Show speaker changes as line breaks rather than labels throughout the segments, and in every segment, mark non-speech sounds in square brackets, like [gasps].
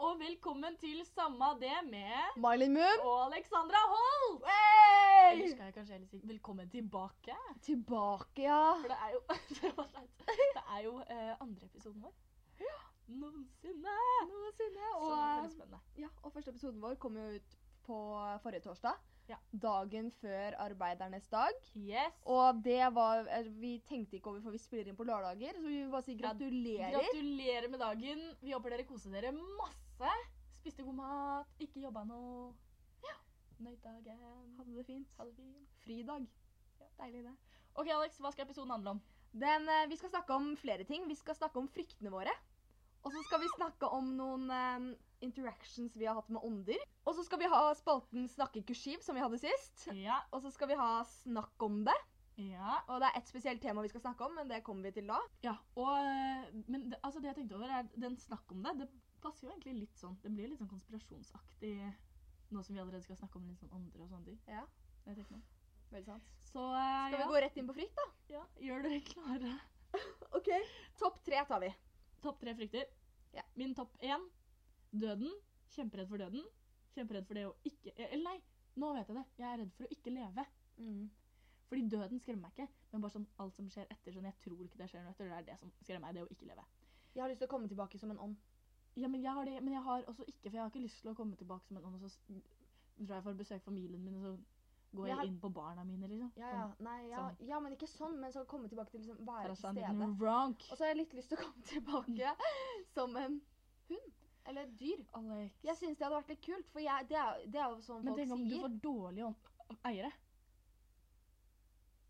og velkommen til Samma det med
Mylin Moon,
og Alexandra Holt! Eller
hey!
skal jeg kanskje heller si velkommen tilbake?
tilbake, ja.
For det er jo [laughs] Det, var sleit. det er jo eh, andre episoden vår. Noensinne! eh, Så det
Noensinne.
er
Og, eh,
veldig spennende.
ja, og første episoden vår kom jo ut på forrige torsdag.
Ja.
Dagen før arbeidernes dag.
Yes.
Og det var eh, Vi tenkte ikke over, for vi spiller inn på lørdager, så vi vil bare si
Ja,
gratulerer.
Gratulerer med dagen. Vi håper dere koser dere masse. Spiste god mat, ikke jobba noe. Ja. Nøyt dagen.
Hadde det fint.
Ha det fint.
Fridag. Deilig, det.
OK, Alex, hva skal episoden handle om?
Den, eh, vi skal snakke om flere ting. Vi skal snakke om fryktene våre. Og så skal vi snakke om noen eh, interactions vi har hatt med ånder. Og så skal vi ha spalten Snakke kursiv, som vi hadde sist.
Ja.
Og så skal vi ha Snakk om det.
ja.
Og det er ett spesielt tema vi skal snakke om, men det kommer vi til da.
Ja, og, eh, men det, altså det jeg tenkte over er at den snakk om det, det passer jo egentlig litt sånn, det blir litt sånn konspirasjonsaktig nå som vi allerede skal snakke om litt sånn andre og sånne ting.
Ja.
Jeg tenker meg.
Veldig sant.
Så eh,
Skal vi
ja,
gå rett inn på frykt, da?
ja, gjør dere klare.
Ok. Topp tre tar vi.
Topp tre frykter.
Ja.
Min topp én, døden. Kjemperedd for døden. Kjemperedd for det å ikke, eh, eller nei, nå vet jeg det. Jeg er redd for å ikke leve.
Mm.
Fordi døden skremmer meg ikke, men bare sånn alt som skjer etter, sånn jeg tror ikke det skjer noe etter, det er det som skremmer meg, det å ikke leve.
Jeg har lyst til å komme tilbake som en ånd.
Ja, men jeg har det, men jeg har også ikke, for jeg har ikke lyst til å komme tilbake som en ånd, og så s- drar jeg for å besøke familien min, og så går
Jeg
jeg,
har-
inn på barna mine, liksom.
Ja, ja. Nei, ja.
Sånn.
ja, men ikke sånn, men så komme tilbake til liksom være til
Sånn.
stede.
Wrong.
Og så har jeg litt lyst til å komme tilbake [laughs] som en hund. Eller et dyr.
Alex.
Jeg syns det hadde vært litt kult, for jeg, det, er, det er jo sånn
Men
folk
tenk om du
sier.
får dårlige ånd- eiere.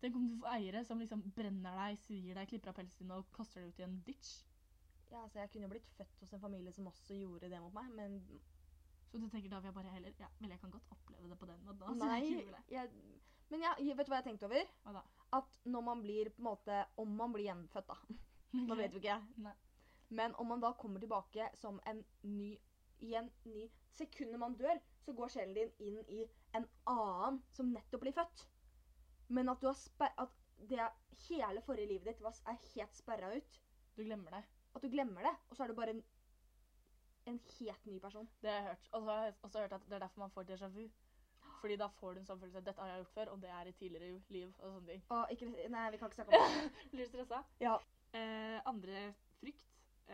Tenk om du får eiere som liksom brenner deg, svir deg, klipper av pelsen din og kaster deg ut i en ditch.
Ja, altså, jeg kunne jo blitt født hos en familie som også gjorde det mot meg, men
Så du tenker da vil jeg bare heller, ja, vel jeg kan godt oppleve det på den måten. da, [laughs] så jeg
Nei.
gjør det.
[laughs] Jeg, men jeg, jeg- vet du hva jeg tenkte over?
Hva da?
At når man blir på en måte Om man blir gjenfødt, da. [laughs] Nå vet vi ikke.
Nei.
Men om man da kommer tilbake som en ny i en ny Sekundet man dør, så går sjelen din inn i en annen som nettopp blir født. Men at du har sper at det hele forrige livet ditt var, er helt sperra ut.
Du glemmer det.
At du glemmer det, og så er du bare en, en helt ny person.
Det har jeg hørt. Og så har jeg også hørt at det er derfor man får déjà vu. Fordi da får du en sånn følelse at dette har jeg gjort før, og det er i tidligere jo- liv. og sånne ting.
Å, ikke, nei, vi kan ikke snakke om det.
Blir du stressa?
Ja.
Eh, andre frykt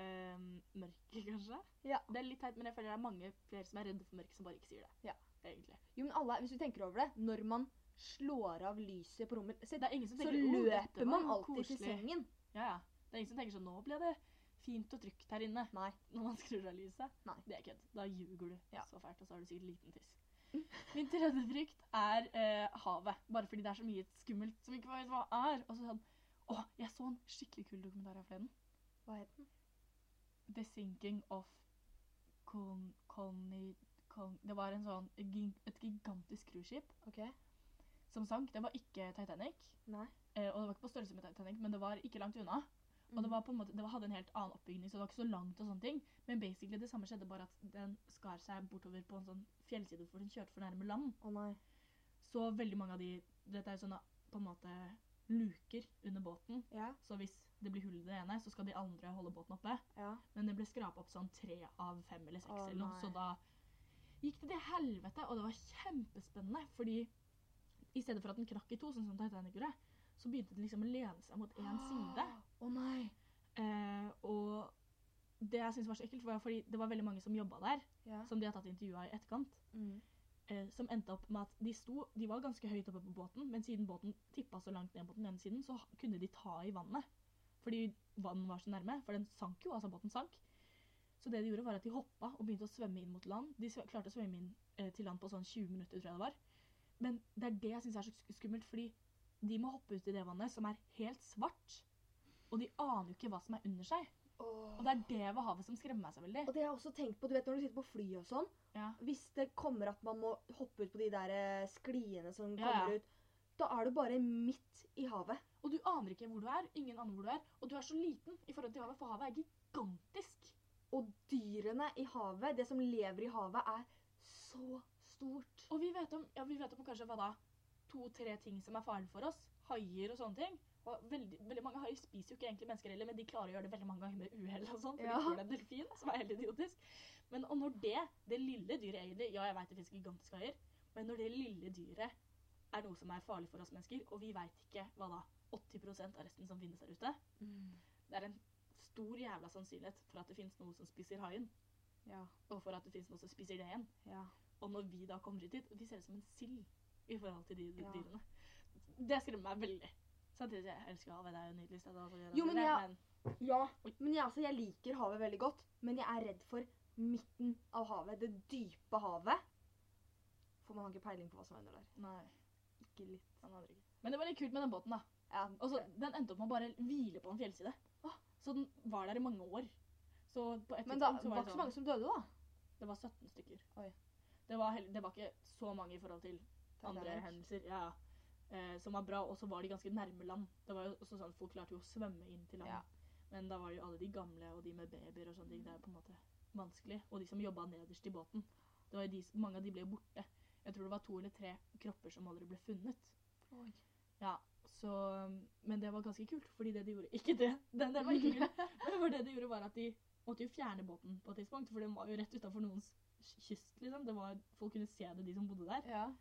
eh, Mørket, kanskje?
Ja.
Det er litt teit, men jeg føler det er mange flere som er redde for mørket, som bare ikke sier det.
Ja.
Egentlig.
[laughs] Jo, men alle, Hvis du tenker over det, når man slår av lyset på rommet Se,
Det er ingen som
så
tenker «Å, dette
løper
var
man
jo
alltid til
koselig».
sengen.
Ja, ja. Det er ingen som tenker sånn Nå ble det fint og trygt her inne.
Nei.
Når man skrur av lyset.
Nei.
Det er kødd. Da ljuger du
Ja.
så fælt, og så har du sikkert liten tiss. Min tredje frykt er eh, havet. Bare fordi det er så mye skummelt som ikke vet hva er. Og så sånn Å, jeg så en skikkelig kul dokumentar her forleden.
Hva het den?
The Sinking of Con... Conny... Con, det var en sånn, gig- et gigantisk cruiseskip
Ok.
som sank. Det var ikke Titanic.
Nei.
Eh, og det var ikke på størrelse med Titanic, men det var ikke langt unna.
Mm.
Og det, var på en måte, det hadde en helt annen oppbygning, så det var ikke så langt. og sånne ting. Men basically det samme skjedde, bare at den skar seg bortover på en sånn fjellside hvor den kjørte for nærme land.
Å nei.
Så veldig mange av de Dette er jo sånne på en måte luker under båten.
Ja.
Så hvis det blir hull i det ene, så skal de andre holde båten oppe.
Ja.
Men det ble skrapa opp sånn tre av fem eller seks
Å,
eller noe,
nei.
så da gikk det til helvete. Og det var kjempespennende, fordi i stedet for at den knakk i to, sånn som Titanic gjorde, så begynte den liksom å lene seg mot én side.
Å nei.
Eh, og det jeg syntes var så ekkelt, var fordi det var veldig mange som jobba der,
Ja.
som de har tatt intervju av i etterkant,
Mm.
eh, som endte opp med at de sto De var ganske høyt oppe på båten, men siden båten tippa så langt ned på den ene siden, så kunne de ta i vannet. Fordi vann var så nærme. For den sank jo, altså båten sank. Så det de gjorde, var at de hoppa og begynte å svømme inn mot land. De svø- klarte å svømme inn eh, til land på sånn 20 minutter, tror jeg det var. Men det er det jeg syns er så sk- skummelt, fordi de må hoppe ut i det vannet som er helt svart. Og de aner jo ikke hva som er under seg. Og
Og,
det er det ved havet som skremmer meg så veldig.
det har jeg også tenkt på, du vet når du sitter på fly og sånn,
Ja.
hvis det kommer at man må hoppe ut på de der eh, skliene
Ja,
som kommer
ja.
ut, da er du bare midt i havet.
Og du aner ikke hvor du er, ingen aner hvor du er, og du er så liten i forhold til havet, for havet er gigantisk.
Og dyrene i havet, det som lever i havet, er så stort.
Og vi vet om, ja, vi vet om kanskje hva da, to-tre ting som er farlig for oss. Haier og sånne ting. Og veldig, veldig mange haier spiser jo ikke egentlig mennesker heller, men de klarer å gjøre det veldig mange ganger med uhell og sånn, for
Ja.
de tror det er en delfin, som er helt idiotisk. Men og når det, det lille dyret egentlig Ja, jeg vet det finnes gigantiske haier, men når det lille dyret er noe som er farlig for oss mennesker, og vi veit ikke hva da 80 av resten som finnes der ute Det er en stor jævla sannsynlighet for at det finnes noe som spiser haien,
Ja.
og for at det finnes noe som spiser det igjen.
Ja.
Og når vi da kommer hit dit, vi ser ut som en sild i forhold til de de
Ja.
dyrene. Det skremmer meg veldig. Samtidig jeg elsker havet, det er jo nydelig sted å gjøre
Jo, men
det,
jeg-
men
Ja,
Oi.
men jeg, altså, jeg liker havet veldig godt, men jeg er redd for midten av havet, det dype havet. For man har ikke peiling på hva som er under der.
nei,
Ikke litt.
han hadde ikke. Men det var litt kult med den båten, da.
Ja,
Og så, den endte opp med å bare hvile på en fjellside. Så den var der i mange år. Så på et
men da
tidspunkt så
var
var det
det ikke så
sånn
mange som døde, da.
Det var 17 stykker.
Oi.
Det, var hell- det var ikke så mange i forhold til andre
Titanic.
hendelser. Ja. Eh, som var bra, og så var de ganske nærme land. Det var jo også sånn at Folk klarte jo å svømme inn til land.
Ja.
Men da var det jo alle de gamle og de med babyer og sånne ting. Det er jo på en måte vanskelig. Og de som jobba nederst i båten. Det var jo de, s- mange av de ble jo borte. Jeg tror det var to eller tre kropper som aldri ble funnet. Ja, så, Men det var ganske kult, fordi det de gjorde [laughs] Ikke det! Den der var [laughs] ikke kul. Men for det de gjorde, var at de måtte jo fjerne båten på et tidspunkt. For den var jo rett utafor noens kyst, liksom. Det var, folk kunne se det, de som bodde der.
Ja.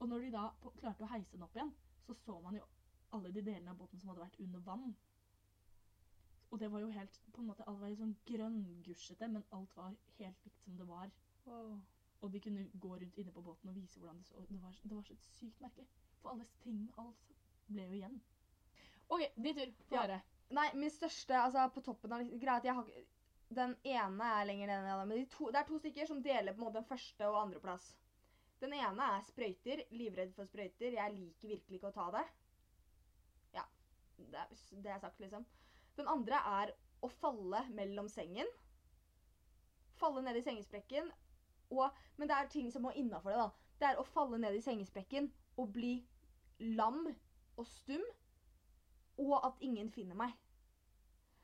Og når de da på, klarte å heise den opp igjen, så så man jo alle de delene av båten som hadde vært under vann. Og det var jo helt på en måte, Alt var jo sånn grønngusjete, men alt var helt likt som det var.
Wow.
Og de kunne gå rundt inne på båten og vise hvordan det så Det var, det var så sykt merkelig. For alle ting alt ble jo igjen. OK, din tur. Få
Ja.
høre.
Nei, min største altså på toppen av greia er at jeg har ikke Den ene er lenger ned enn den andre, men de to, det er to stykker som deler på en måte den første og andreplass. Den ene er sprøyter. Livredd for sprøyter. Jeg liker virkelig ikke å ta det. Ja. Det er s- det er sagt, liksom. Den andre er å falle mellom sengen. Falle ned i sengesprekken. Og, men det er ting som må innafor det, da. Det er å falle ned i sengesprekken og bli lam og stum og at ingen finner meg.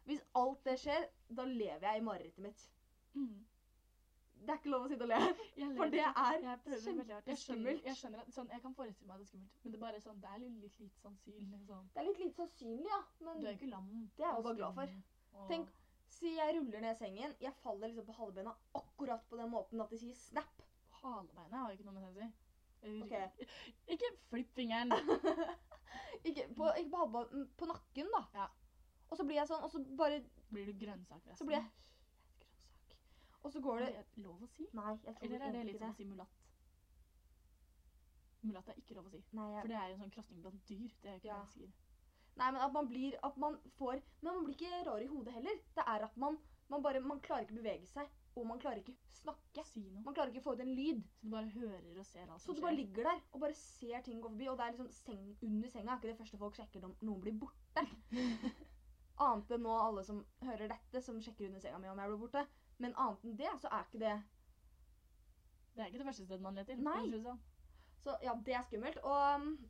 Hvis alt det skjer, da lever jeg i marerittet mitt.
Mm.
Det er ikke lov å sitte og le,
Jeg ler
for det
ikke.
er
jeg prøver veldig hardt. Jeg skjønner,
kjempeskummelt.
jeg skjønner at sånn, jeg kan forestille meg at det er skummelt, men det er bare sånn, det er litt, litt, litt sannsynlig. Sånn.
Det er litt lite sannsynlig, ja.
Du Mm. er
Men
jo ikke lam.
Det er jeg
og
bare glad for.
stum, og-
Tenk- si jeg ruller ned sengen, jeg faller liksom på halvbena akkurat på den måten at de sier snap.
Halebeinet har ikke noe med det å si. Eller-
Ok.
Ikke flipp fingeren.
Ikke på, ikke på halvbena, men på nakken, da.
Ja.
Og så blir jeg sånn, og så bare
Blir du grønnsak resten?
Så blir jeg helt grønnsak. Og så går det
Er det lov å si?
Nei, jeg tror
Sånn. Eller er det
egentlig
litt
ikke
som å
det.
si mulatt? Mulatt er ikke lov å si.
Nei, jeg
For det er jo en sånn krasning blant dyr. Det er jo ikke
Ja.
det mennesker.
Nei, men at man blir At man får Men man blir ikke rar i hodet heller. Det er at man Man bare Man klarer ikke bevege seg. Og man klarer ikke snakke.
Si noe.
Man klarer ikke få ut en lyd.
Så du bare hører og ser alt
Så
som
du
skjer.
bare ligger der og bare ser ting gå forbi. Og det er liksom seng, under senga er ikke det første folk sjekker om noen blir borte. annet enn nå alle som hører dette, som sjekker under senga mi om jeg blir borte. Men annet enn det, så er ikke det
Det er ikke det første stedet man leter.
Nei.
for å si det sånn.
Så ja, det er skummelt. Og um,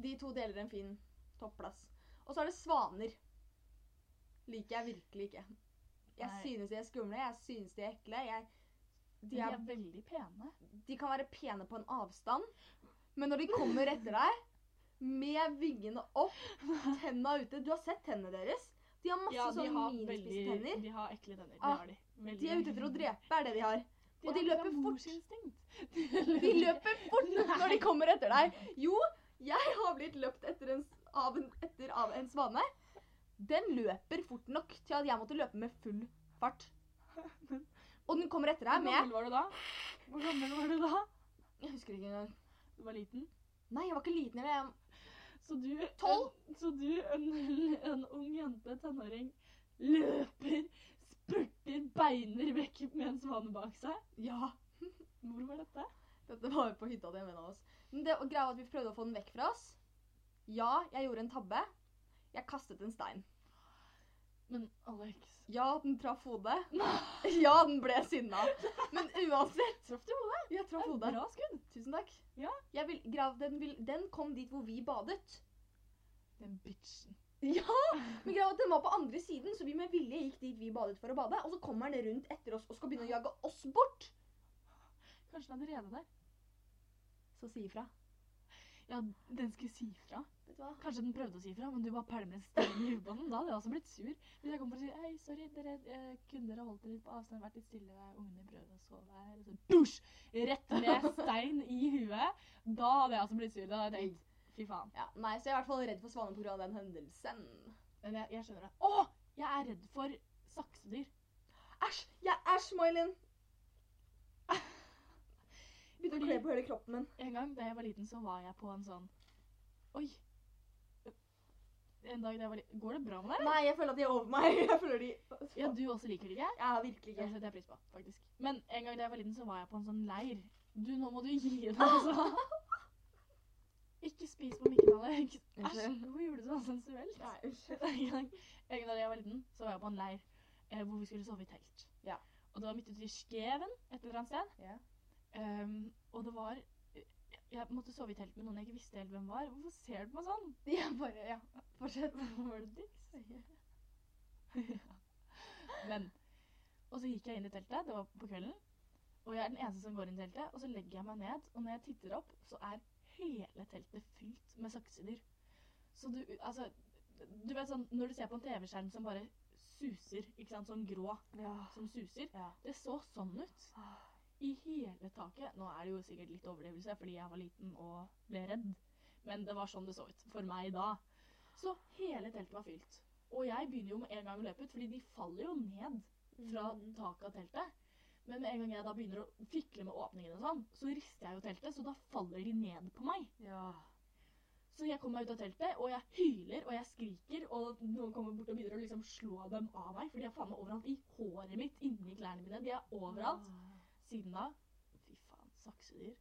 de to deler en fin topplass. Og så er det svaner. Liker jeg virkelig ikke. Jeg
Nei.
synes de er skumle, jeg synes de er ekle. Jeg,
Men
de,
De
er,
er veldig pene.
de kan være pene på en avstand, men når de kommer etter deg med vingene opp, tenna ute Du har sett tennene deres? De har masse sånn minispisse tenner.
De har ekle tenner.
Ah,
det har de. Veldig.
De er ute etter å drepe, er det de har. og de
er-
løper
har
fort.
morsinstinkt. [laughs]
De løper fort
Nei.
når de kommer etter deg. Jo, jeg har blitt løpt etter en, s- av, en, etter, av en svane. Den løper fort nok til at jeg måtte løpe med full fart. Og den kommer etter
Hvor
deg med
gammel var du da? Hvor gammel var du da?
Jeg husker ikke engang.
Du var liten.
Nei, jeg var ikke liten. eller Jeg,
Så du,
Tolv.
En, så du en, en ung jente, tenåring, løper, spurter, beiner vekk med en svane bak seg?
ja,
Hvor var dette?
Dette var jo på hytta til en venn av oss. Men det og greia var at vi prøvde å få den vekk fra oss. Ja, jeg gjorde en tabbe. Jeg kastet en stein.
Men Alex
Ja, den traff hodet. Ja, den ble sinna. Men uansett
Traff du hodet?
Jeg traff
Det er
hodet.
Bra skudd.
Tusen takk.
Ja.
Jeg vil, grav, den, vil, den kom dit hvor vi badet.
Den bitchen.
Ja! Men greia var at den var på andre siden, så vi med vilje gikk dit vi badet for å bade. Og så kommer den rundt etter oss og skal begynne å jage oss bort.
Kanskje den hadde revet der.
Så si ifra.
Ja, den skulle si fra.
Vet du hva?
Kanskje den prøvde å si fra, men du bare pælmer en stein i huet på den. Da hadde jeg også blitt sur. Hvis jeg kom for å si hei, sorry, dere eh, kunne dere holdt dere litt på avstand, vært litt stille, ungene prøvde å sove her, og så dusj! Rett ned stein i huet. Da hadde jeg også blitt sur. Da hadde jeg tenkt fy faen.
Ja, nei, så jeg er i hvert fall redd for svaner pga. den hendelsen.
Men jeg, jeg skjønner det. Å! Jeg er redd for saksedyr.
Æsj! Jeg er [laughs] Smilin! Begynte å
Fordi-
kle på hele kroppen min.
En gang da jeg var liten, så var jeg på en sånn Oi. En dag da jeg var liten Går det bra med deg?
Nei, jeg føler at de er over meg. [laughs] Jeg føler de
Ja, du også liker det ikke?
Ja, virkelig
Det
ikke.
setter jeg pris på, faktisk. Men en gang da jeg var liten, så var jeg på en sånn leir. Du, nå må du gi
[laughs]
deg, altså. Ikke spis på mikken, Alex. Æsj,
Unnskyld.
hvorfor gjorde du det så sensuelt?
Nei, unnskyld.
[laughs] En gang, en gang da jeg var liten, så var jeg på en leir eh, hvor vi skulle sove i telt.
Ja.
Og det var midt ute i Skeven et eller annet sted.
Ja.
Ehm, og det var jeg- Jeg måtte sove i telt med noen jeg ikke visste helt hvem var. Hvorfor ser du på meg sånn?
De er bare Ja, fortsett.
Var det dicks? Men Og så gikk jeg inn i teltet, det var på kvelden. Og jeg er den eneste som går inn i teltet. Og så legger jeg meg ned, og når jeg titter opp, så er hele teltet fylt med saksedyr. Så du Altså, du vet sånn når du ser på en TV-skjerm som bare suser, ikke sant, sånn grå
Ja.
som suser.
Ja.
Det så sånn ut i hele taket. Nå er det jo sikkert litt overdrivelse fordi jeg var liten og ble redd, men det var sånn det så ut for meg da. Så hele teltet var fylt. Og jeg begynner jo med en gang å løpe ut, fordi de faller jo ned fra taket av teltet. Men med en gang jeg da begynner å fikle med åpningen og sånn, så rister jeg jo teltet, så da faller de ned på meg.
Ja.
Så jeg kommer meg ut av teltet, og jeg hyler og jeg skriker, og noen kommer bort og begynner å liksom slå dem av meg, for de er faen meg overalt. I håret mitt, inni klærne mine, de er overalt. Siden da Fy faen, saksedyr.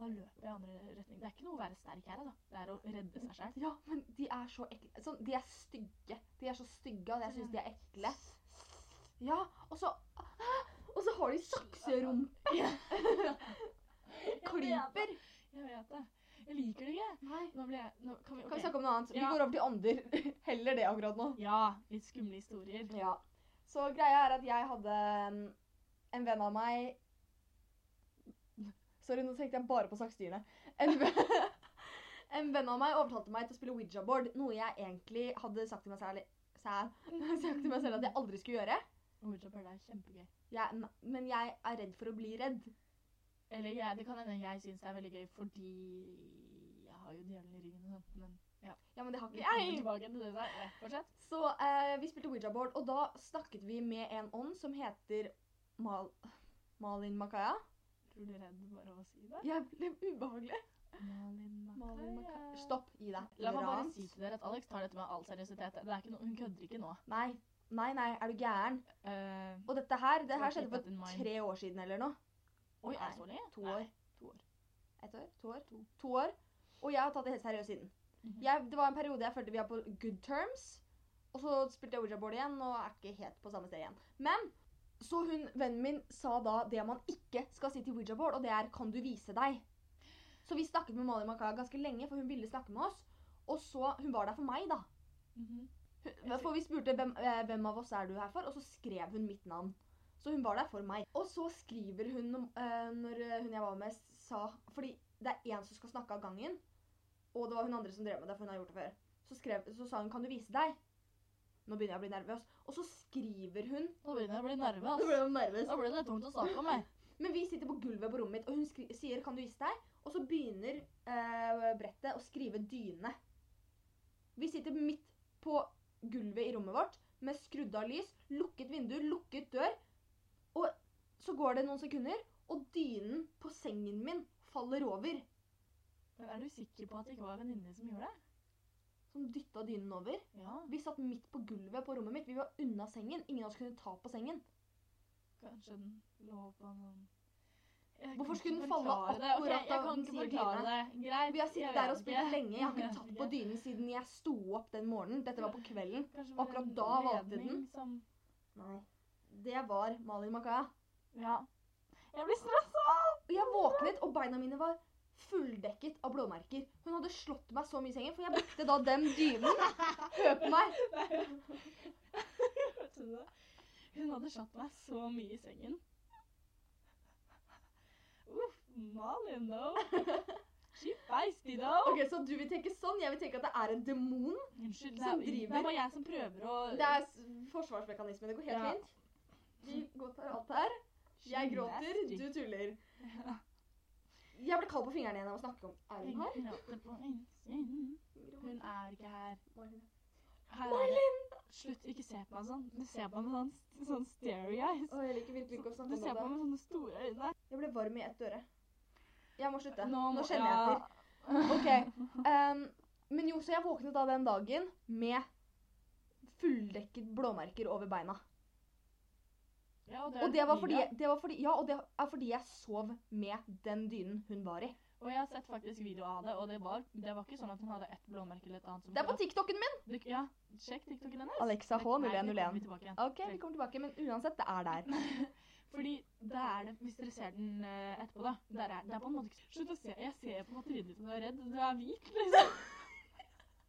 Da løper jeg i andre retning. Det er ikke noe å være sterk her, da. Det er å redde seg [laughs] sjæl.
Ja, men de er så ekle. Sånn, de er stygge. De er så stygge, og jeg syns de er ekle. Ja, og så [gasps] Og så har de sakserumpe! Klyper!
Jeg vet det. Jeg liker det ikke.
Nei.
Nå ble jeg nå, Kan vi,
Kan vi
ok.
snakke om noe annet? Vi
Ja.
går over til ånder. [laughs] Heller det akkurat nå.
Ja, litt skumle historier.
Ja. Så greia er at jeg hadde mm, en venn av meg Sorry, nå tenkte jeg bare på sakstyrene. En, ve- [laughs] en venn av meg overtalte meg til å spille Ouija-board, noe jeg egentlig hadde sagt til meg selv, selv, [laughs] sagt til meg selv at jeg aldri skulle gjøre.
Ouija board er kjempegøy.
Jeg, ne- men jeg er redd for å bli redd.
Eller jeg, det kan hende jeg syns det er veldig gøy fordi jeg har jo djevelen i ryggen og sånt, men
Ja, men det har
vi
ikke
kommer
jeg.
tilbake til det der. Ja, Fortsett.
Så eh, vi spilte Ouija-board, og da snakket vi med en ånd som heter Mal Malin Makaya.
Tror du redd bare av å si det?
Jeg ble ubehagelig.
Malin
Malin Makaya.
Makaya.
Stopp. Gi deg.
La meg bare
Tolerant.
si til dere at Alex tar dette med all seriøsitet. Det er ikke noe, hun kødder ikke nå.
Nei, nei, nei, er du gæren?
Eh,
Og dette her, det
So
her
keep
skjedde
that in
for
mind.
tre år siden eller noe.
oi, er
Nei,
det så lenge?
to
Nei.
år.
to år.
Ett år? To år? To, år. Og jeg har tatt det helt seriøst siden.
Mhm.
Jeg, det var en periode jeg følte vi var på good terms, og så spilte jeg Ouija-board igjen og er ikke helt på samme sted igjen. Men så hun, vennen min sa da det man ikke skal si til Ouija-board, og det er 'kan du vise deg'? Så vi snakket med Mali Makaya ganske lenge, for hun ville snakke med oss. Og så Hun var der for meg, da.
Mhm.
Hun- For vi spurte hvem, eh, hvem av oss er du her for, og så skrev hun mitt navn. Så hun var der for meg. Og så skriver hun om, eh, når eh, hun jeg var med, sa Fordi det er én som skal snakke av gangen, og det var hun andre som drev med det, for hun har gjort det før. Så, skrev, så sa hun 'Kan du vise deg?' Nå begynner jeg å bli nervøs. Og så skriver hun
Nå begynner jeg å bli nervøs.
[laughs] Nå ble hun nervøs.
Da ble det tungt å snakke om meg.
Men vi sitter på gulvet på rommet mitt, og hun skri sier 'Kan du vise deg?' Og så begynner eh, brettet å skrive dyne. Vi sitter midt på gulvet i rommet vårt med skrudd av lys, lukket vindu, lukket dør. Og så går det noen sekunder, og dynen på sengen min faller over.
Men er du sikker på at det ikke var venninne som gjorde det?
Som dytta dynen over.
Ja,
Vi satt midt på gulvet på rommet mitt. Vi var unna sengen. Ingen av oss kunne ta på sengen.
kanskje den lå på noen Jeg
Hvorfor
kan
skulle
ikke
den falle
forklare det. Ok,
akkurat da
jeg kan
den
ikke
sier
forklare det. Greit.
Vi har sittet
jeg
der og
vet
spilt
ikke.
lenge. Jeg har
Jeg
ikke tatt
vet
på
ikke.
dynen siden jeg sto opp den morgenen. Dette var på kvelden.
Kanskje var det
Akkurat
en
da valgte
redning
den.
Som...
Nei. Det var Malin Makaya.
Ja. Jeg blir stressa!
Og jeg våknet, og beina mine var fulldekket av blåmerker. Hun hadde slått meg så mye i sengen, for jeg brukte da den dynen. Hør på meg!
Hørte du det? [laughs] Hun hadde slått meg så mye i sengen. Uff, Malin, though. She feisty, though.
Ok, Så du vil tenke sånn? Jeg vil tenke at det er en demon.
Unnskyld, det
Som
er, det
driver.
er bare jeg som prøver å
Det er s- forsvarsmekanismen. Det går helt
Ja.
fint. Vi går til alt her. Jeg
She
gråter,
nasty.
du tuller. Jeg ble kald på fingrene igjen av å snakke om Er hun her?
Jeg gråter på innsiden. Hun er ikke her.
Malin.
Her er det. Slutt, ikke se på meg sånn. Du ser på meg med sånn, sånn stary eyes.
Å, jeg liker virkelig ikke
Du
å snakke
ser
om
på meg
det.
med sånne store øyne.
Jeg ble varm i ett øre. Jeg må slutte. Nå,
må-
kjenner jeg etter. Ok. ehm, men jo, så jeg våknet da den dagen med fulldekket blåmerker over beina.
Ja, og
Og det var fordi,
jeg,
det var fordi, ja, og det er fordi jeg sov med den dynen hun var i.
og jeg har sett faktisk video av det, og det var, det var ikke sånn at hun hadde ett blåmerke eller et annet. Som
Det er på TikToken min!
Du, ja, sjekk TikToken hennes.
Alexa H,
Nei, det
0101.
kommer vi tilbake igjen.
Ok, vi kommer tilbake, men uansett, det er der.
[laughs] Fordi det er det, hvis dere ser den eh, etterpå, da. Der er, det er på en måte ikke Slutt å se. Jeg ser på trynet ditt at du er redd. Du er hvit, liksom.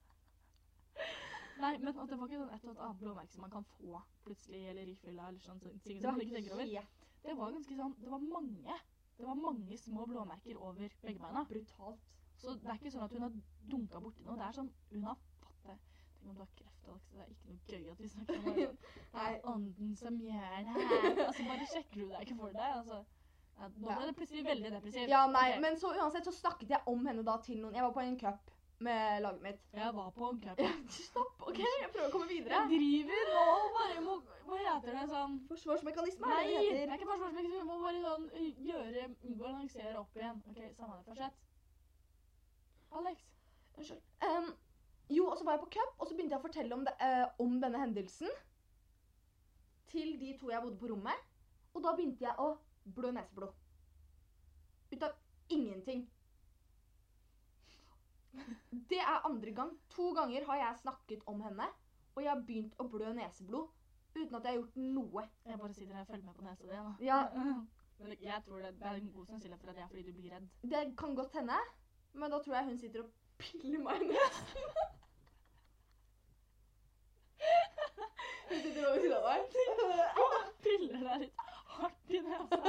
[laughs] Nei, men at det var ikke sånn et og et annet blåmerke som man kan få plutselig, eller i fylla, eller sånn sånn ting
Det
som
var
man ikke tenker over.
helt
Det var ganske sånn Det var mange. Det var mange små blåmerker over begge beina.
brutalt.
Så det er ikke sånn at hun har dunka borti noe. Det er sånn Hun har fått det. Tenk om du har kreft, Alex. Det er ikke noe gøy at vi snakker om det. Det
Nei.
er ånden som gjør det her. Altså, bare sjekker du deg ikke for deg. Altså. Ja, nå ble det plutselig veldig depressivt.
Ja, nei,
Ok,
men så uansett så snakket jeg om henne da til noen. Jeg var på en cup med laget mitt.
Jeg var på en cup.
Stopp, ok? Jeg prøver å komme videre.
Jeg driver nå bare må Hva heter det sånn
Forsvarsmekanisme
Nei! Det
er det det
er
heter.
ikke forsvarsmekanisme. Vi må bare sånn gjøre Balansere opp igjen. OK, samme det. Fortsett. Alex.
Unnskyld. Em, jo, og så var jeg på cup, og så begynte jeg å fortelle om, det, eh, om denne hendelsen til de to jeg bodde på rommet. Og da begynte jeg å blø neseblod. Ut av ingenting. Det er andre gang. To ganger har jeg snakket om henne, og jeg har begynt å blø neseblod uten at jeg har gjort noe.
Jeg bare sitter her og følger med på nesa di. nå.
Ja,
Men jeg tror det, det er en god sannsynlighet for at det er fordi du blir redd.
Det kan godt hende, men da tror jeg hun sitter og piller meg i nesen. Hun sitter over siden av meg.
Åh, Piller deg litt hardt i altså. nesa.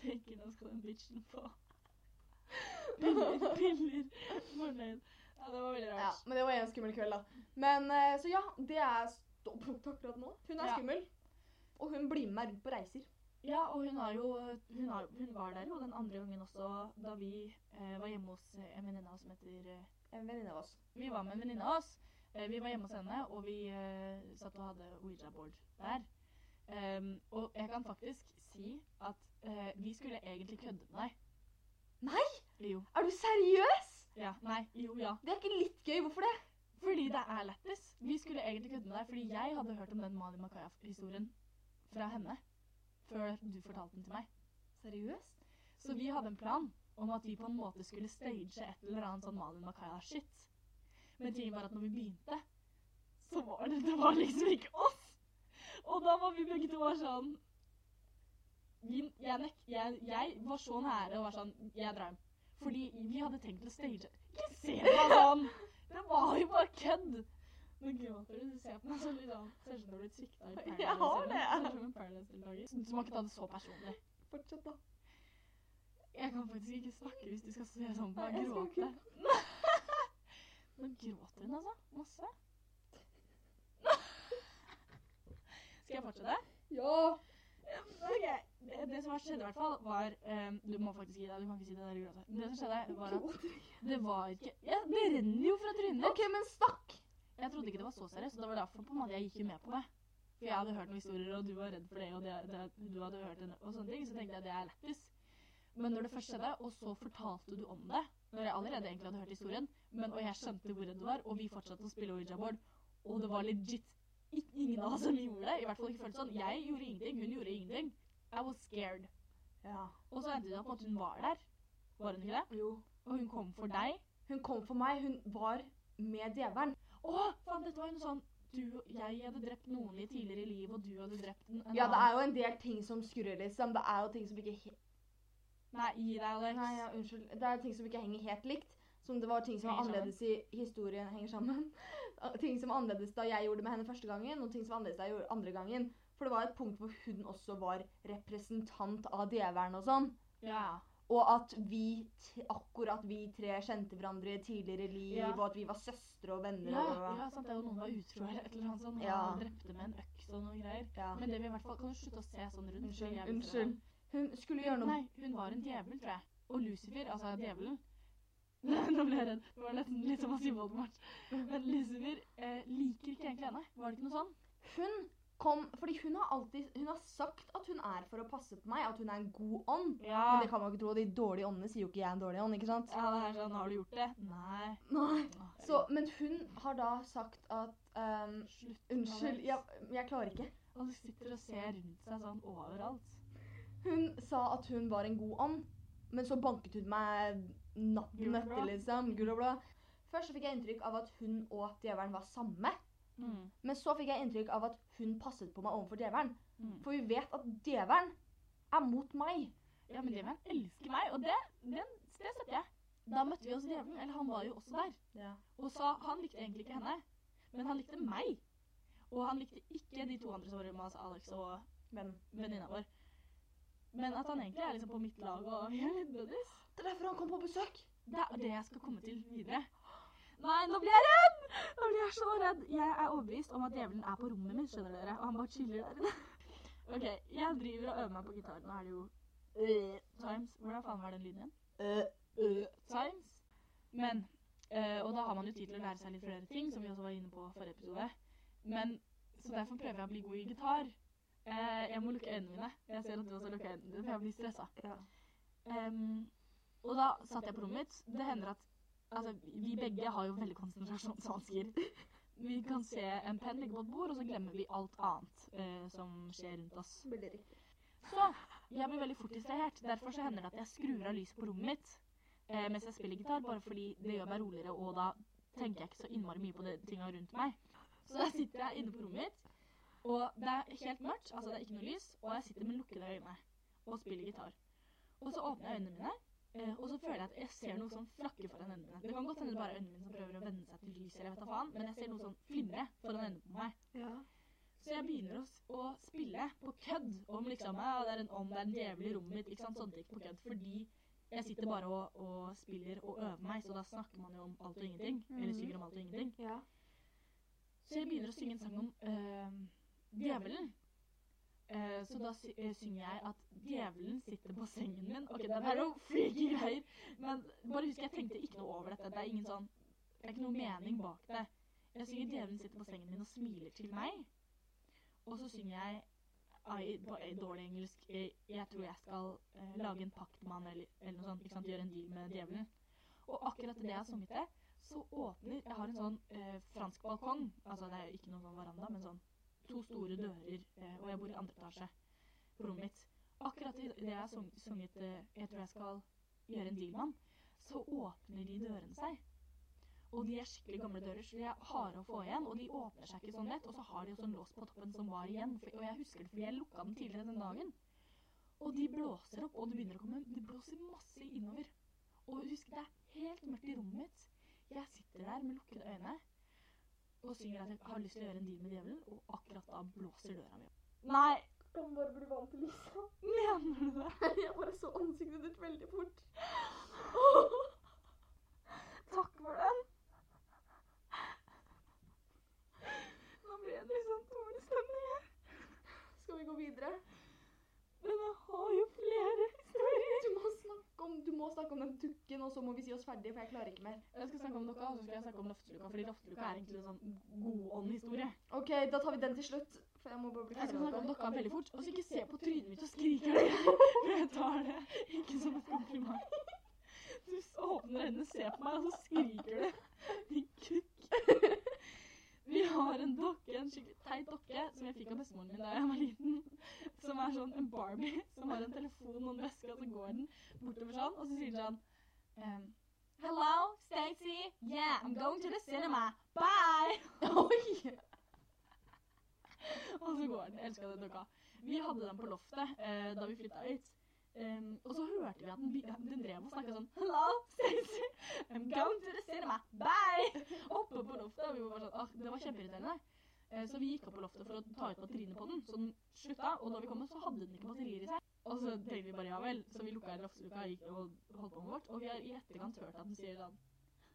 Tenker nå skal den bitchen få. Piller, piller. Fornøyd. Ja, det var veldig
Ja,
rart.
men det var en skummel kveld, da. Men eh, så ja, det er ståpunktet akkurat nå. Hun er
Ja.
skummel. Og hun blir med meg rundt på reiser.
Ja, og hun, har jo, hun, har, hun var der jo den andre gangen også, da vi eh, var hjemme hos eh, en venninne av oss som heter eh,
En venninne av oss.
Vi var med en venninne av oss. Eh, vi var hjemme hos henne, og vi eh, satt og hadde Ouija-board der. Em, og jeg kan faktisk si at eh, vi skulle egentlig kødde med deg.
Nei?
Jo.
Er du seriøs?
Ja. Nei. Jo, ja.
Det er ikke litt gøy. Hvorfor det?
Fordi det er lættis. Vi skulle egentlig kødde med deg, fordi jeg hadde hørt om den Mali Makaya-historien fra henne før du fortalte den til meg.
Seriøst?
Så vi hadde en plan om at vi på en måte skulle stage et eller annet sånn Malin Makaya-shit. Men tingen var at når vi begynte, så var det, det var liksom ikke oss. Og da var vi begge to bare sånn vi, jeg, nek, jeg, jeg var så nære og var sånn Jeg drar hjem. Fordi vi hadde tenkt å stage Ikke se på meg sånn! Det var jo bare kødd! Nå gråter du. Du ser på meg sånn litt sånn. Ser ut som du har blitt svikta i [laughs] Paradise.
Jeg har
eller
det.
noe. Ser ut som en Paradise-deltaker. Du må ikke ta det så personlig.
Fortsett, da.
Jeg kan faktisk ikke snakke hvis du skal se sånn på meg
Nei, jeg skal
gråte. [laughs] Nå gråter hun, altså. Masse. [laughs] Skal jeg fortsette?
Ja.
Det, det som skjedde, i hvert fall, var eh, Du må faktisk gi deg. Du kan ikke si det der i gråte. Det som skjedde, var at det var ikke ja, Det renner jo fra trynet ditt.
OK, men snakk.
Jeg trodde ikke det var så seriøst, og det var derfor på en måte jeg gikk jo med på det. For jeg hadde hørt noen historier, og du var redd for det, og det, det, du hadde hørt en, og sånne ting, så tenkte jeg det er lættis. Men når det først skjedde, og så fortalte du om det, når jeg allerede egentlig hadde hørt historien, men, og jeg skjønte hvor redd du var, og vi fortsatte å spille Ouija-board, og det var legit ikke ingen av oss som gjorde det, i hvert fall ikke føltes sånn. Jeg gjorde ingenting, hun gjorde ingenting. I was scared.
Ja.
Og så endte det opp med at hun var der, var hun ikke det?
Jo.
Og hun kom for deg.
Hun kom for meg. Hun var med djevelen.
Å, faen, dette var jo noe sånn du, Jeg hadde drept noen litt tidligere i livet, og du hadde drept en, en
Ja, det
annen.
er jo en del ting som skurrer, liksom. Det er jo ting som ikke he
Nei, gi deg, Alex.
Nei, ja, unnskyld. Det er ting som ikke henger helt likt. Som det var ting som var
Henger
annerledes i historien henger sammen. [laughs] Og Ting som var annerledes da jeg gjorde det med henne første gangen, og ting som var annerledes da jeg gjorde andre gangen. For det var et punkt hvor hun også var representant av djevelen og sånn.
Ja.
Og at vi, t akkurat vi tre kjente hverandre i tidligere liv,
Ja.
og at vi var søstre og venner.
Ja,
og bla, bla,
ja sant, det er jo noen som var utro eller et eller annet sånt.
Ja.
Og drepte med en øks og noen greier.
bla. Ja.
Men det vi i hvert fall kan du slutte å se sånn rundt. fordi
Unnskyld.
jeg vil se
Unnskyld. Hun skulle gjøre
det.
noe
Nei, hun var en djevel, tror jeg. Og Lucifer, altså djevelen [laughs] Nå ble jeg redd. Det var nesten litt som å si Voldemort. Men Lucifer eh, liker ikke egentlig henne. Var det ikke noe sånn?
Hun kom Fordi hun har alltid Hun har sagt at hun er for å passe på meg, at hun er en god ånd.
Ja.
Men det kan man jo ikke tro. De dårlige åndene sier jo ikke 'jeg er en dårlig ånd', ikke sant?
ja, det er sånn, har du gjort det? Nei. Åh,
Nei.
jeg
Så, men hun har da sagt at ehm,
vil- Slutt.
Unnskyld,
Alex.
jeg, jeg klarer ikke.
Alle sitter og ser rundt seg sånn overalt.
Hun sa at hun var en god ånd, men så banket hun meg natten
Gul og
etter,
blå.
liksom. Gul og blå. Først så fikk jeg inntrykk av at hun og djevelen var samme.
Mm,
Men så fikk jeg inntrykk av at hun passet på meg overfor djevelen.
Mm.
For vi vet at djevelen er mot meg.
Ja, men djevelen elsker meg, og det, den, det støtter jeg. Da møtte vi oss djevelen, eller han var jo også der, og sa han likte egentlig ikke henne, men han likte meg. Og han likte ikke de to andre som var med oss, Alex og
Men
venninna vår. Men at han egentlig er liksom på mitt lag, og [laughs] vi er litt buddies.
det er derfor han kom på besøk.
Det er det jeg skal komme til videre. Nei, nå blir jeg redd! Nå blir jeg så redd. Jeg er overbevist om at djevelen er på rommet mitt, skjønner dere. Og han bare chiller der inne. [laughs] OK, jeg driver og øver meg på gitar. Nå er det jo øh, Times. Hvordan faen var den lyden igjen?
Eh,
Øh, times. Men øh, Og da har man jo tid til å lære seg litt flere ting, som vi også var inne på forrige episode. Men Så derfor prøver jeg å bli god i gitar. Eh, jeg må lukke øynene mine. Jeg ser at du også lukker øynene dine, for jeg blir stressa.
Ja.
Ehm, og da satt jeg på rommet mitt. Det hender at altså, vi begge har jo veldig konsentrasjonsvansker. [laughs] Vi kan se en penn ligge på et bord, og så glemmer vi alt annet eh, som skjer rundt oss. Så jeg blir veldig fort distrahert. Derfor så hender det at jeg skrur av lyset på rommet mitt eh, mens jeg spiller gitar, bare fordi det gjør meg roligere, og da tenker jeg ikke så innmari mye på de tinga rundt meg. Så da sitter jeg inne på rommet mitt, og det er helt mørkt, altså det er ikke noe lys, og jeg sitter med lukkede øyne og spiller gitar. Og så åpner jeg øynene mine, eh, og så føler jeg at jeg ser noe sånn flakke foran øynene mine. Det kan godt hende det bare er øynene mine som prøver å venne seg til lyset, eller jeg vet da faen, men jeg ser noe sånn flimre foran øynene på meg. Så jeg begynner å, s- å spille på kødd om liksom ja, det er en ånd, det er en djevel i rommet mitt. ikke sant, Sånne ting på kødd. Fordi jeg sitter bare og, og spiller og øver meg, så da snakker man jo om alt og ingenting. Eller synger om alt og ingenting. Så jeg begynner å synge en sang om eh, djevelen. Eh, så da sy eh, synger jeg at djevelen sitter på sengen min. Ok, den er jo freaky greier, men bare husk jeg tenkte ikke noe over dette. Det er ingen sånn, det er ikke noe mening bak det. Jeg synger djevelen sitter på sengen min og smiler til meg. Og så synger jeg i, på i dårlig engelsk eh, Jeg tror jeg skal eh, lage en pakt med han eller, eller noe sånt. Ikke sant? Gjøre en deal med djevelen. Og akkurat det jeg har sunget det, så åpner Jeg har en sånn eh, fransk balkong. Altså det er jo ikke noen sånn veranda, men sånn to store dører. Eh, og jeg bor i andre etasje på rommet mitt. Akkurat i det jeg har sung, sunget eh, 'Jeg tror jeg skal gjøre en deal med han', så åpner de dørene seg. Og de er skikkelig gamle dører, så de er harde å få igjen. Og de åpner seg ikke sånn lett. Og så har de også en lås på toppen som var igjen. For, og jeg husker det fordi jeg lukka den tidligere den dagen. Og de blåser opp, og det begynner å komme Det blåser masse innover. Og husk, det er helt mørkt i rommet mitt. Jeg sitter der med lukkede øyne og synger at jeg har lyst til å gjøre en deal med djevelen, og akkurat da blåser døra mi opp. Nei,
Kan bare bli vant til lyset.
mener du det?
[laughs] Jeg bare så ansiktet ditt veldig
[laughs]
fort.
Takk for den. Nå ble det litt sånn dårlig stemning her.
Skal vi gå videre?
Men jeg har jo flere historier.
Du må snakke om, du må snakke om den dukken, og så må vi si oss ferdige, for jeg klarer ikke mer.
Jeg skal snakke om dere, og så skal jeg snakke om Lofteluka, fordi Lofteluka er egentlig en sånn godåndhistorie.
Ok, da tar vi den til slutt. For jeg må bare bli
Jeg skal
ferdig med
snakke om
dette.
dokka veldig fort, og så ikke se på trynet mitt og skrike det. For [laughs] jeg tar det ikke som et kompliment. Du s- åpner øynene, ser på meg, og så skriker du. Din kukk. Vi har en dokke, en skikkelig teit dokke, som jeg fikk av bestemoren min da jeg var liten. Som er sånn en Barbie, som har en telefon og en veske, og så går den bortover sånn, og så sier den sånn ehm, Hello, Stacy. Yeah, I'm going to the cinema. Bye!
Oi!
Og så går den. Jeg elsker den dokka. Vi hadde den på loftet eh, da vi flytta ut. Em, og så hørte vi at den, bi- at den drev og snakka sånn Hello, Stacy. I'm going to the cinema. Bye! Oppe på loftet. Og vi var bare sånn, ah, det var kjempeirriterende. Eh, så vi gikk opp på loftet for å ta ut batteriene på den, så den slutta. Og da vi kom, så hadde den ikke batterier i seg. Og så tenkte vi bare ja vel, så vi lukka i draftsluka gikk og holdt på med vårt. Og vi har i etterkant hørt at den sier sånn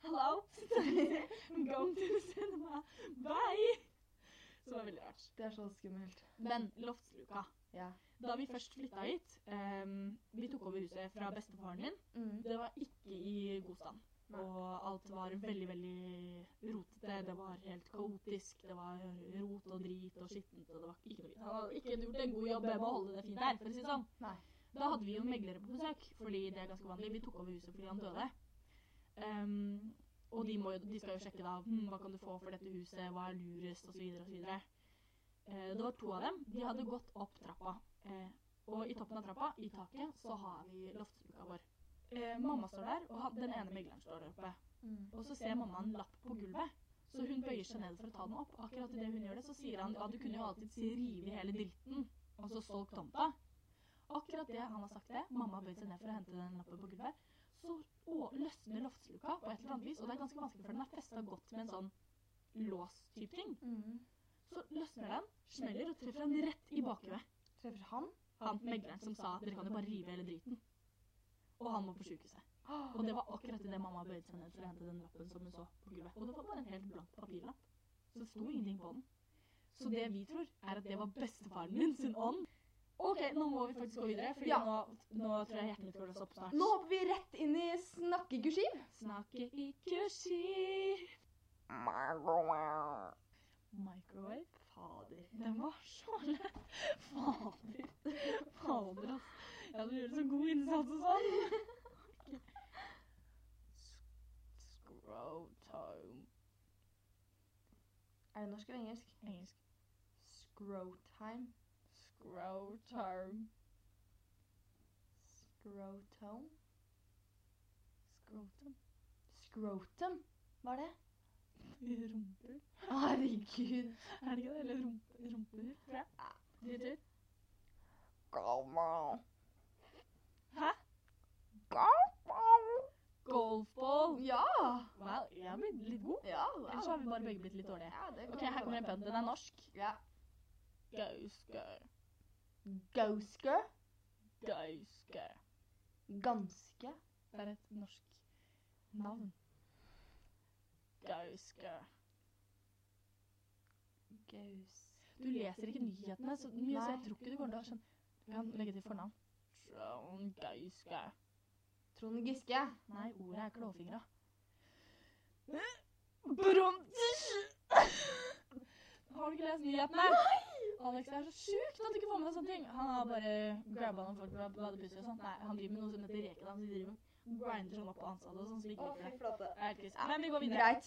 Hello, I'm going to the cinema. Bye! Så det var veldig rart.
Det er så skummelt.
Men loftsluka.
Ja.
Da vi først flytta hit ehm, Vi tok over huset fra bestefaren min.
Mm.
Det var ikke i god stand.
Nei.
Og alt var veldig, veldig rotete. Det var helt kaotisk. Det var rot og drit og skittent. Og det var ikke noe vidt. Han hadde ikke gjort en god jobb med å holde det fint der, for å si det sånn.
Nei.
Da hadde vi jo meglere på besøk, fordi det er ganske vanlig. Vi tok over huset fordi han døde. Ehm, og de, må jo, de skal jo sjekke da hm, hva kan du få for dette huset, hva er lurest, osv. osv. Uh, det var to av dem. De hadde gått opp trappa. Eh, og i toppen av trappa, i taket, så har vi loftsluka vår. Eh, mamma står der, og han, den ene megleren står der oppe. Og så ser mamma en lapp på gulvet, så hun bøyer seg ned for å ta den opp. Akkurat idet hun gjør det, så sier han ja, du kunne jo alltid si rive i hele dritten, og så solgt tomta. Akkurat det han har sagt det, mamma bøyer seg ned for å hente den lappen på gulvet, så å, løsner loftsluka på et eller annet vis, og det er ganske vanskelig, for den er festa godt med en sånn lås-type ting.
Mm.
Så løsner den, smeller og treffer han rett i bakhuet.
Treffer han?
Han megleren som sa dere kan jo bare rive hele driten. Og han må på sjukehuset.
Ah,
Og det var akkurat det mamma bøyde seg ned for å hente den lappen som hun så på gulvet. Og det var bare en helt blank papirlapp. Så det sto ingenting på den. Så det vi tror, er at det var bestefaren min sin ånd. OK, nå må vi faktisk gå videre, for
Ja.
nå, nå tror jeg hjertet mitt går løs opp snart.
Nå hopper vi rett inn i snakkegurskiv.
Snakke i kursiv. Microwave. Fader. Den var så lett. Fader. Fader, ass. Ja, du gjør så god innsats og sånn. Scrotum.
Er det norsk eller engelsk?
Engelsk.
Scrotime.
Scrotum.
Scrotum.
Scrotum.
Scrotum? Hva er det?
Rumper.
Herregud.
Er det ikke det? Eller rumpe, rumper, tror jeg. Din tur. Hæ? Golfball.
Ja.
Wow, jeg har blitt litt god.
Ja,
Ellers har vi bare begge blitt litt dårlige.
Ja, det
Ok, her kommer en pønn. Den er norsk.
Ja.
Gauske,
Gauske.
gauske.
Ganske.
Det er et norsk navn. Gauske.
Gaus.
Du leser ikke nyhetene så mye, så jeg
Nei.
tror ikke du kommer til å sånn- skjønne. Du kan legge til fornavn. Trond Gauske.
Trond Giske.
Nei, ordet er klåfingra. Brontes! [laughs] Har du ikke lest nyhetene? Nei! Alex er så sjukt at du ikke får med deg sånne ting. Han har bare grabba noen folk fra badebusser og sånn. Nei, han driver med noe som heter Rekedans. De driver og grinder sånn opp på ansatte og sånn, så de ikke
Å,
liker
fy
det.
flate.
Det er helt krise. Men vi går videre. [laughs]
Greit.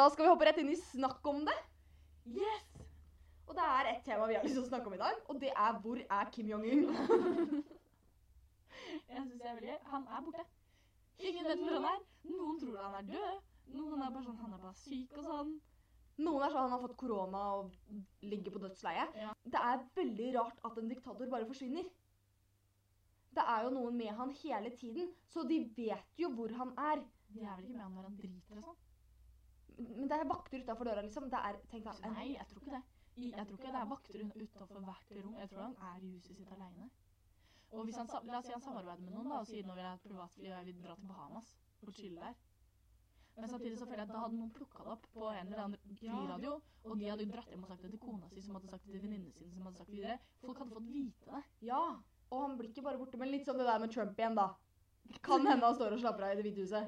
Da skal vi hoppe rett inn i snakk om det.
Yes!
Og det er et tema vi har lyst til å snakke om i dag, og det er hvor er Kim
Jeg
Jong-un?
synes jeg er veldig gøy. Han er borte. Ingen vet hvor han er. Noen tror han er død. Noen er bare sånn Han er bare syk og sånn.
Noen er sånn han har fått korona og ligger på dødsleie.
Ja.
Det er veldig rart at en diktator bare forsvinner. Det er jo noen med han hele tiden, så de vet jo hvor han er.
De er vel ikke med han når han driter og sånn?
Men det er vakter utafor døra, liksom. Det er, tenk deg, en,
Nei, jeg tror ikke det. I- Jeg tror ikke det er vakter utafor hvert rom. Jeg tror han er i huset sitt aleine. Og hvis han, sa- la oss si han samarbeider med noen da, og sier nå vil jeg ha et privatfly og jeg vil dra til Bahamas og chille der. Men samtidig så føler jeg at da hadde noen plukka det opp på en eller annen flyradio, og de hadde jo dratt hjem og sagt det til kona si, som hadde sagt det til venninnene sine, som hadde sagt det videre. Folk hadde fått vite [laughs] det.
Ja. Og han blir ikke bare borte, men litt som det der med Trump igjen, da. Kan hende han står og slapper av i Det hvite huset.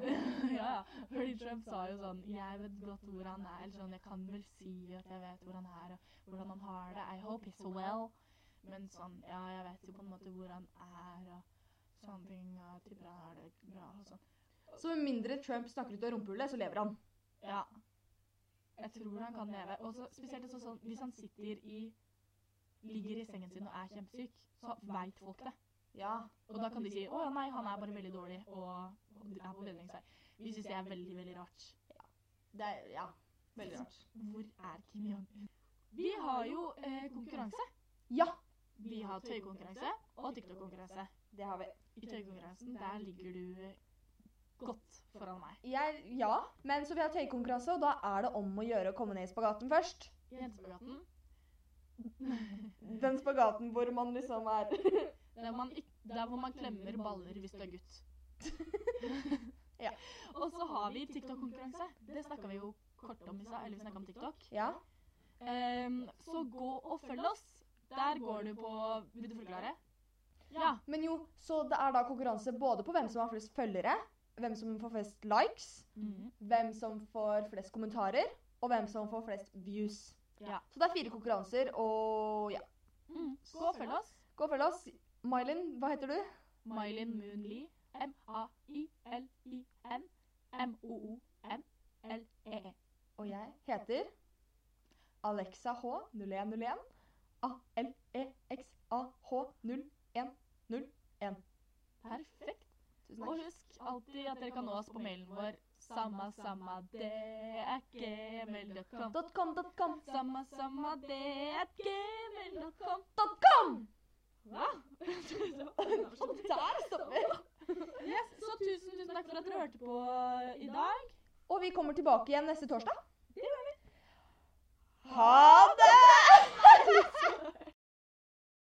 ja, ja. Fordi Trump sa jo sånn Jeg vet godt hvor han er. Eller sånn, jeg kan vel si at jeg vet hvor han er, og hvordan han har det. I hope he's well. Men sånn, ja, jeg vet jo på en måte hvor han er, og sånne ting. og Jeg tipper han har det bra og sånn.
Så med mindre Trump snakker ut av rumpehullet, så lever han.
Ja. Jeg tror han kan leve. Og så spesielt også sånn, hvis han sitter i Ligger i sengen sin og er kjempesyk, så veit folk det.
Ja.
Og da kan de si 'Å ja, nei, han er bare veldig dårlig og er på bedringsvei'. Vi syns det er veldig, veldig rart.
Det er Ja. Veldig rart.
Hvor er Kim Jong-un? Vi har jo eh, konkurranse.
Ja,
Vi har tøykonkurranse og TikTok-konkurranse.
det har vi.
I tøykonkurransen der ligger du eh, godt foran meg.
Jeg, ja, men så vi har tøykonkurranse, og da er det om å gjøre å komme ned i spagaten først.
Jentespagaten.
Den spagaten hvor man liksom er
Der, man, ikk- der hvor man klemmer baller hvis du er gutt. ja. Og så har vi TikTok-konkurranse. Det snakka vi jo kort om i stad. Eller vi snakka om TikTok.
[laughs] Ja.
Ehm, så gå og følg oss. Der går du på Vil du forklare? Ja.
Men jo, så det er da konkurranse både på hvem som har flest følgere, hvem som får flest likes, hvem som får flest kommentarer, og hvem som får flest views.
Ja.
Så det er fire konkurranser, og ja.
Mm. Gå og følg oss.
Gå og følg oss. Mylin, hva heter du?
Mylin Moon Lee. M-a-i-l-i-n-m-o-o-n-l-e-e.
Og jeg heter Alexa H 0101 E A-L-E-X-A-H-0101.
Perfekt.
Tusen
Og
takk.
husk alltid at dere kan nå oss på mailen vår. Samma, samma, det er gmail.com.
Dot com, dot com.
Samma, samma, det er gmail.com.
Dot com!
Hva?
Og der stopper vi.
Yes, så tusen, tusen takk for at dere hørte på i dag.
Og vi kommer tilbake igjen neste torsdag. Det gjør vi. Ha det!